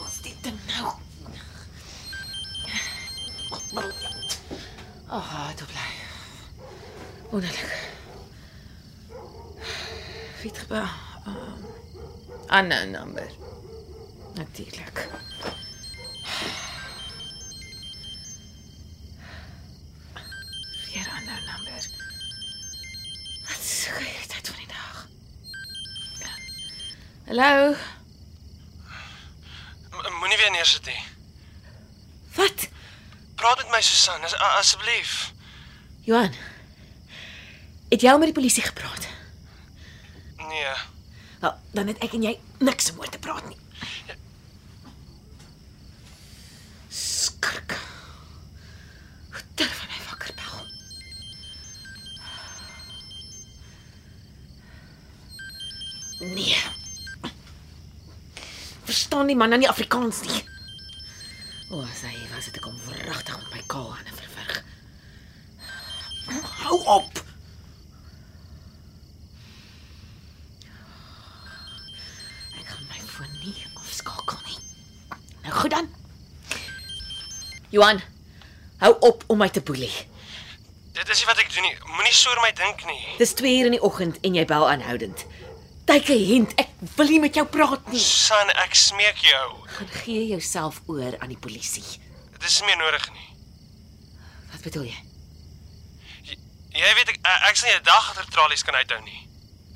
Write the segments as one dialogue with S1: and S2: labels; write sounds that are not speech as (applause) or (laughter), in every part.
S1: Ons dit dan nou. Briljant. Ah, oh, toe bly. Wonderlik. Wie het gebel? Um, ah, nou, Ander nommer. Natuurlik. Weer ander nommer. Wat soek jy tyd van die dag? Hallo.
S2: M- Moenie weer neersit nie.
S1: Wat?
S2: Praat met my Susan, as, a- asseblief.
S1: Johan. Het jy al met die polisie gepraat?
S2: Nee.
S1: Wel, dan het ek en jy niks om oor te praat nie. Skrik. Hoe durf hy my wakker bel? Nee. Verstaan die man dan nie Afrikaans nie. O, as hy hier was dit kom wragtig met my kaal hande verwrig. Hou op. Ek gaan my foon nie afskakel nie. Nou goed dan. Johan, hou op om my te boelie.
S2: Dit is nie wat ek doen nie. Moenie so oor my dink nie.
S1: Dis 2 uur in die oggend en jy bel aanhoudend. Take 'n hint, ek wil nie met jou praat nie.
S2: Susan, ek smeek jou.
S1: Gaan gee jouself oor aan die polisie.
S2: Dit is nie meer nodig nie.
S1: Wat bedoel jy?
S2: J jy weet ek ek- ek sal nie 'n dag agter tralies kan uithou nie.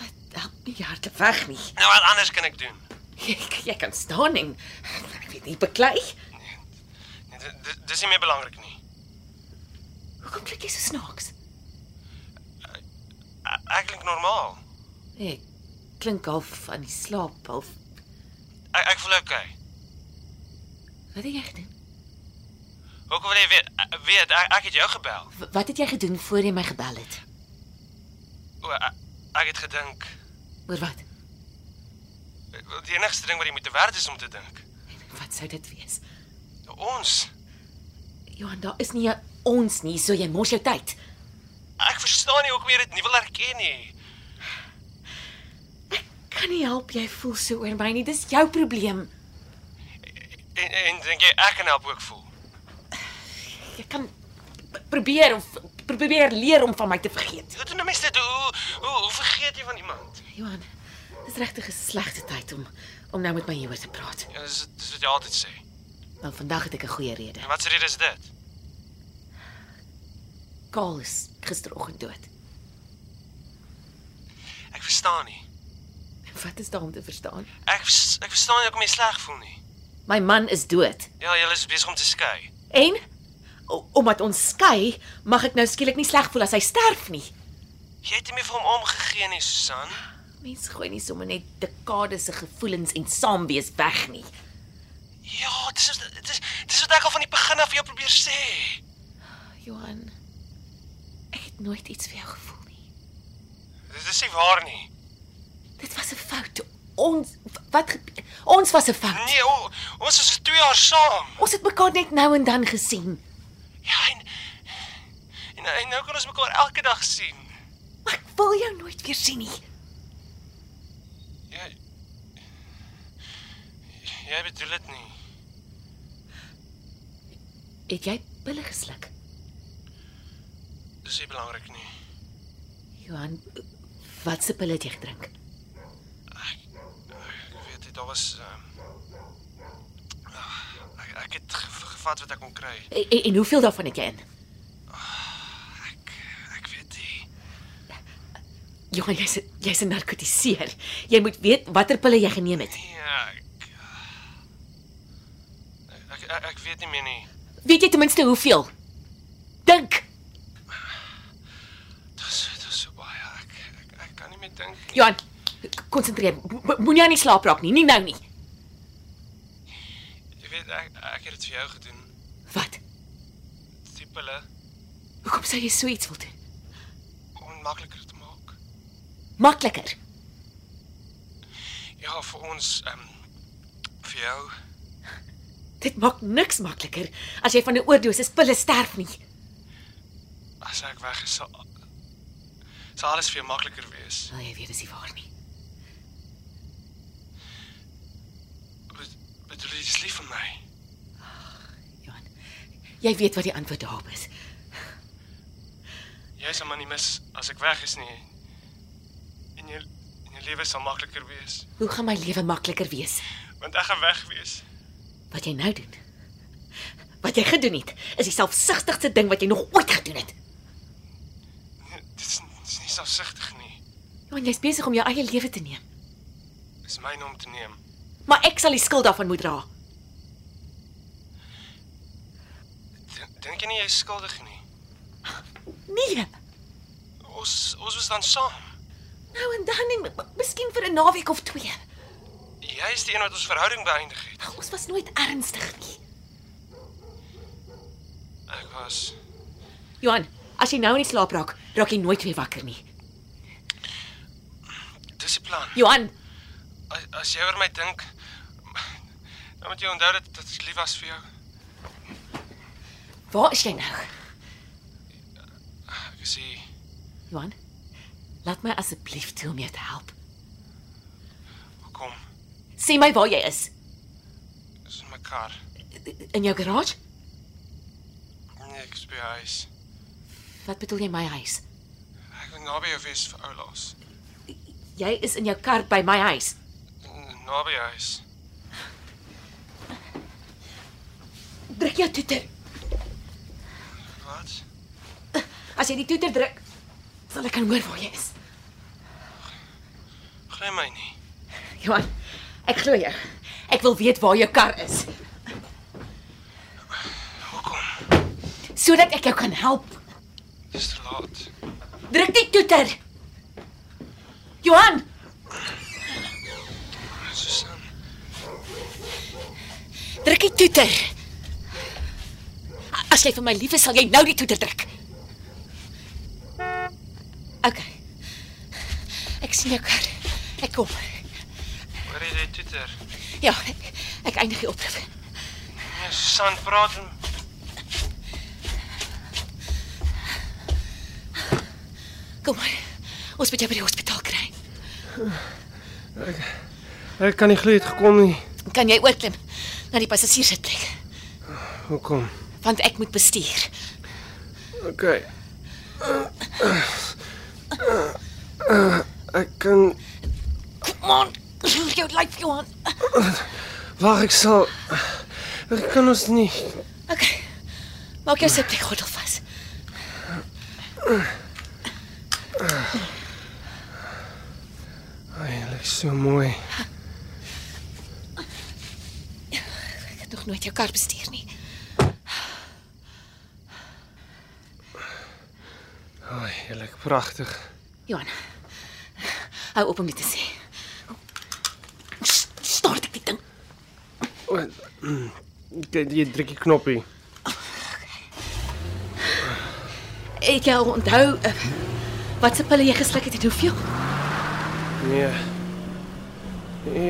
S1: Wat help nie harte weg nie.
S2: Nou wat anders kan ek doen?
S1: Jy, jy kan staan en ek weet nie beklei.
S2: Nee, Dit dit- dis nie meer belangrik nie.
S1: Hoekom klink jy so snaaks?
S2: Ek, ek klink normaal.
S1: Ek klink half aan die slaap, half.
S2: Ek ek voel okay.
S1: Wat het jy gedoen?
S2: Hoekom wil jy weet ek- weet ek, ek het jou gebel?
S1: W- Wat het jy gedoen voor jy my gebel het?
S2: O, ek, ek het gedink.
S1: Oor wat?
S2: Die enigste ding wat jy moet te werd is om te dink. Nou,
S1: Wat sou dit wees?
S2: Ons.
S1: Johan, daar is nie 'n ons nie, so jy mors jou tyd.
S2: Ek verstaan nie hoekom jy dit nie wil erken nie.
S1: Kan nie help jy voel so oor my nie. Dis jou probleem.
S2: En, en dink jy ek kan help ook voel?
S1: Jy kan p- probeer of p- probeer leer om van my te vergeet.
S2: Hoe doen 'n mens dit? Hoe, hoe hoe vergeet jy van iemand?
S1: Johan, dis regtig 'n slegte tyd om om nou met my hieroor te praat.
S2: Ja, dis dis wat jy altyd sê.
S1: Wel, vandag het ek 'n goeie rede.
S2: En wat se rede is dit?
S1: Kaal is gisteroggend dood.
S2: Ek verstaan nie.
S1: Wat is daar om te verstaan?
S2: Ek vers- ek verstaan nie hoekom jy sleg voel nie.
S1: My man is dood.
S2: Ja, jy is besig om te skei.
S1: En o- omdat ons skei, mag ek nou skielik nie sleg voel as hy sterf nie.
S2: Jy het nie meer vir hom omgegee nie, Susan.
S1: Mense gooi nie sommer net dekades se gevoelens en saamwees weg nie.
S2: Ja, dis is- dis dis wat ek al van die begin af vir jou probeer sê.
S1: Oh, Johan, ek het nooit iets vir jou gevoel nie.
S2: Dit is nie waar nie.
S1: Dit was 'n fout. Ons wat gebe- ons was 'n fout.
S2: Nee, o, ons is vir 2 jaar saam.
S1: Ons het mekaar net nou en dan gesien.
S2: Ja, en, en en nou kan ons mekaar elke dag sien.
S1: Maar ek wil jou nooit weer sien nie.
S2: Jy Ja, Jy bedoel dit nie.
S1: Het jy pille gesluk?
S2: Dis nie belangrik nie.
S1: Johan, wat se pille het jy gedrink?
S2: Ek weet dit, daar was ehm ah, ek, ek het gev- gevat wat ek kon kry.
S1: En, en hoeveel daarvan het jy in?
S2: Ek ek weet nie.
S1: Johan, jy's jy's 'n narkotiseer. Jy moet weet watter pille jy geneem het.
S2: Ja, ek, ek ek ek weet nie meer nie.
S1: Weet jy ten minste hoeveel? Dink.
S2: Dis dis so baie. Ek ek, ek kan nie meer dink. nie.
S1: Johan, Konsentreer. Mo- mo- Moenie aan die slaap raak nie, nie nou nie.
S2: Jy weet ek ek het dit vir jou gedoen.
S1: Wat?
S2: Die pille
S1: Hoekom sou jy so iets wil doen?
S2: om makliker te maak.
S1: Makliker.
S2: Ja, vir ons ehm vir jou.
S1: Dit maak niks makliker as jy van 'n oordosis pille sterf nie.
S2: As ek weg is, sal sal alles vir jou makliker wees.
S1: Wel, jy weet dis nie waar nie.
S2: Bet- Bedoel jy dis lief vir my?
S1: Johan, jy weet wat die antwoord daarop is.
S2: Jy sal my nie mis as ek weg is nie. En jou en jou lewe sal makliker wees,
S1: Hoe gaan my lewe makliker wees?
S2: want ek gaan weg wees.
S1: Wat jy nou doen. Wat jy gedoen het, is die selfsugtigste ding wat jy nog ooit gedoen het.
S2: Nee, Dit is, dit is nie selfsugtig nie.
S1: Johan, jy's besig om jou eie lewe te neem.
S2: Dis myne om te neem.
S1: Maar ek sal die skuld daarvan moet dra.
S2: D- Dink jy nie jy is skuldig nie?
S1: Nee.
S2: Ons ons was dan saam.
S1: Nou en dan nie, m- miskien vir 'n naweek of twee.
S2: Jy is die een wat ons verhouding beëindig het.
S1: Maar Ons was nooit ernstig nie.
S2: Ek was
S1: Johan, as jy nou nie slaap raak, raak jy nooit weer wakker nie.
S2: dis die plan.
S1: Johan,
S2: As, as jy oor my dink, (laughs) dan moet jy onthou dat dit lief was vir jou.
S1: waar is jy nou?
S2: Ek is hier.
S1: Johan, laat my asseblief toe om jou te help.
S2: Hoekom?
S1: Sê my waar jy is.
S2: Dis in my kar.
S1: In jou garage?
S2: Nee, ek is by jou huis.
S1: Wat bedoel jy my huis?
S2: Ek wil naby jou wees vir oulaas.
S1: Jy is in jou kar by my huis.
S2: N- Naby jou huis.
S1: Druk jou toeter.
S2: Wat?
S1: As jy die toeter druk, sal ek kan hoor waar jy is.
S2: Glo my nie.
S1: Johan, ek glo jou. Ek wil weet waar jou kar is
S2: Hoekom?
S1: sodat ek jou kan help.
S2: Dis te laat.
S1: Druk die toeter. Johan,
S2: Susan,
S1: druk die toeter. As jy vir my lief is, sal jy nou die toeter druk. OK. Ek sien jou kar. Ek kom.
S2: hoor jy dit toeter?
S1: Ja, ek, ek eindig die oproep.
S2: Nee, Susan, praat en
S1: Kom maar. Ons moet jou by die hospitaal kry.
S2: Ek kan nie glo dit gekom nie.
S1: Kan jy oorklim na die passasierssitplek?
S2: Hoekom?
S1: Want ek moet bestuur.
S2: Okay. Ek kan
S1: Kom aan. Roer jou lyf, Johan.
S2: wag, ek sal Ek kan ons nie.
S1: OK. Maak jou sitplek gordel vas.
S2: Eilik so mooi.
S1: Ek het nog nooit jou kar bestuur nie.
S2: Ai, eilik pragtig.
S1: Johan. Hou op om dit te sê. S- Staar ek die ding.
S2: O, Jy jy druk die knoppie.
S1: Het jy al onthou uh, wat se pille jy gesluk het en hoeveel?
S2: Nee.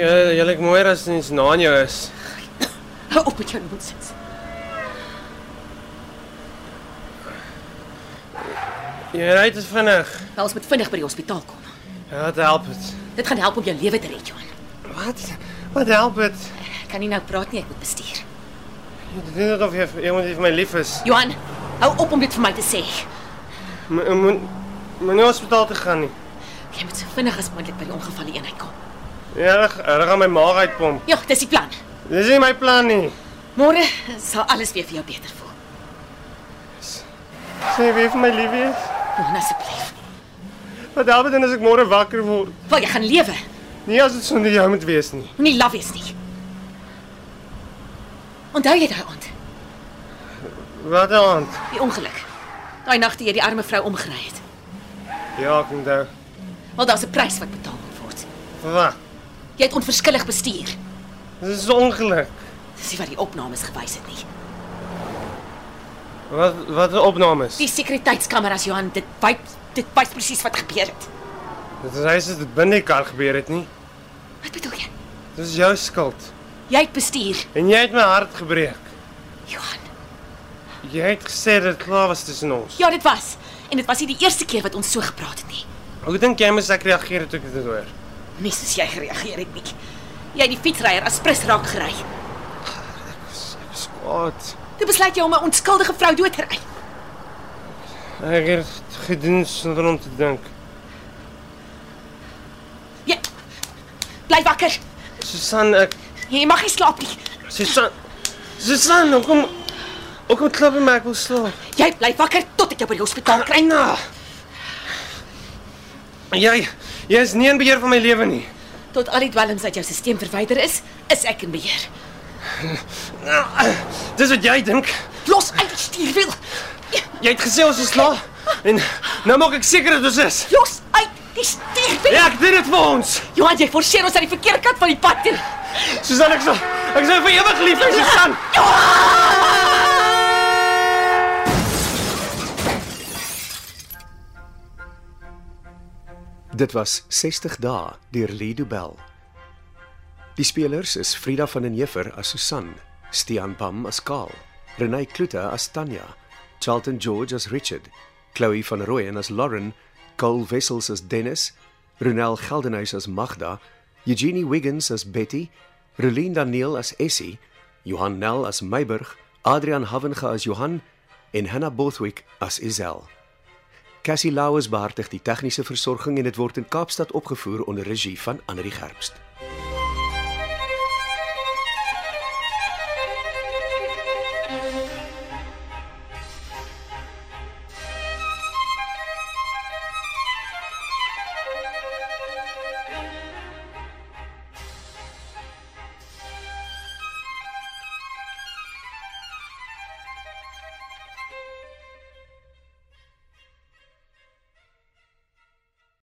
S2: Ja, jy lyk mooier as iets na aan jou is.
S1: Hou op met jou nonsens.
S2: Jy ry te vinnig.
S1: Nou ons moet vinnig by die hospitaal kom.
S2: Ja, dit help dit.
S1: Dit gaan help om jou lewe te red, Johan.
S2: Wat? Wat help dit?
S1: Ek kan nie nou praat nie, ek moet bestuur.
S2: Jy doen dit of jy iemand vir my lief is.
S1: Johan, hou op om dit vir my te sê.
S2: Mo- Moet moet nie hospitaal toe gaan nie.
S1: Jy moet so vinnig as moontlik by die ongeval eenheid kom.
S2: Ja, hulle hulle gaan my maag uitpomp.
S1: Ja, dis die plan.
S2: Dis nie my plan nie.
S1: Môre sal alles weer vir jou beter voel.
S2: Sê weer vir my lief is.
S1: Johan, asseblief.
S2: Wat help dit dan as ek môre wakker word?
S1: Wil jy gaan lewe?
S2: Nie as dit sonder jou moet wees nie.
S1: Moenie laf wees nie. Onthou jy daai aand,
S2: Wat 'n aand.
S1: die ongeluk? Daai nag toe jy die arme vrou omgery het.
S2: Ja, ek onthou.
S1: Wel daar's 'n prys wat betaal moet word.
S2: Wat?
S1: Jy het onverskillig bestuur.
S2: Dis 'n ongeluk.
S1: Dis nie wat die opnames gewys het nie.
S2: Wat wat 'n opname is.
S1: Die sekuriteitskameras Johan, dit wys dit wys presies wat gebeur het.
S2: Dit is hy sê dit binne die kar gebeur het nie.
S1: Wat bedoel jy?
S2: Dis jou skuld.
S1: Jy het bestuur,
S2: En jy het my hart gebreek.
S1: Johan.
S2: Jy het gesê dit klaar was tussen ons.
S1: Ja, dit was. En dit was nie die eerste keer wat ons so gepraat het nie.
S2: Hoe dink jy moes ek reageer toe ek dit hoor?
S1: Net soos jy gereageer het nie. Jy het die fietsryer as prins raak gery.
S2: Skot.
S1: Toe besluit jy om 'n onskuldige vrou dood te ry.
S2: Ek het dit gedoen sonder om te dink.
S1: Jy bly wakker.
S2: Susan, ek
S1: Jy mag nie slaap nie.
S2: Susan Susan, hoekom hoekom klap jy my ek wil slaap?
S1: Jy bly wakker tot ek jou by die hospitaal kry.
S2: Kryna. Jy jy is nie in beheer van my lewe nie.
S1: Tot al die dwelms uit jou stelsel verwyder is, is ek in beheer.
S2: Dis wat jy dink.
S1: Los uit die stuurwiel.
S2: Jy het gesê ons is klaar en nou maak ek seker dat ons is.
S1: Los uit die stuurwiel.
S2: Ja, ek doen dit vir ons.
S1: Johan, jy forceer ons aan die verkeerde kant van die pad toe.
S2: Susan, ek sal ek sal vir ewig lief vir Susan.
S3: Dit was 60 dae deur Lido Bell. Die spelers is Frida van den Heever as Susan, Stean Pam as Karl, Renay Klute as Tanya, Charlton George as Richard, Chloe van Rooyen as Lauren, Cole Wessels as Dennis, Ronel Geldenhuys as Magda, Eugenie Wiggins as Betty, Roolien Daniel as Essie, Johan Nel as Meiburg, Adrian Havenga as Johan en Hannah Bothwick as Isel. Cassie Lauers behartig die tegniese versorging en dit word in Kaapstad opgevoer onder regie van Anri Gerbst.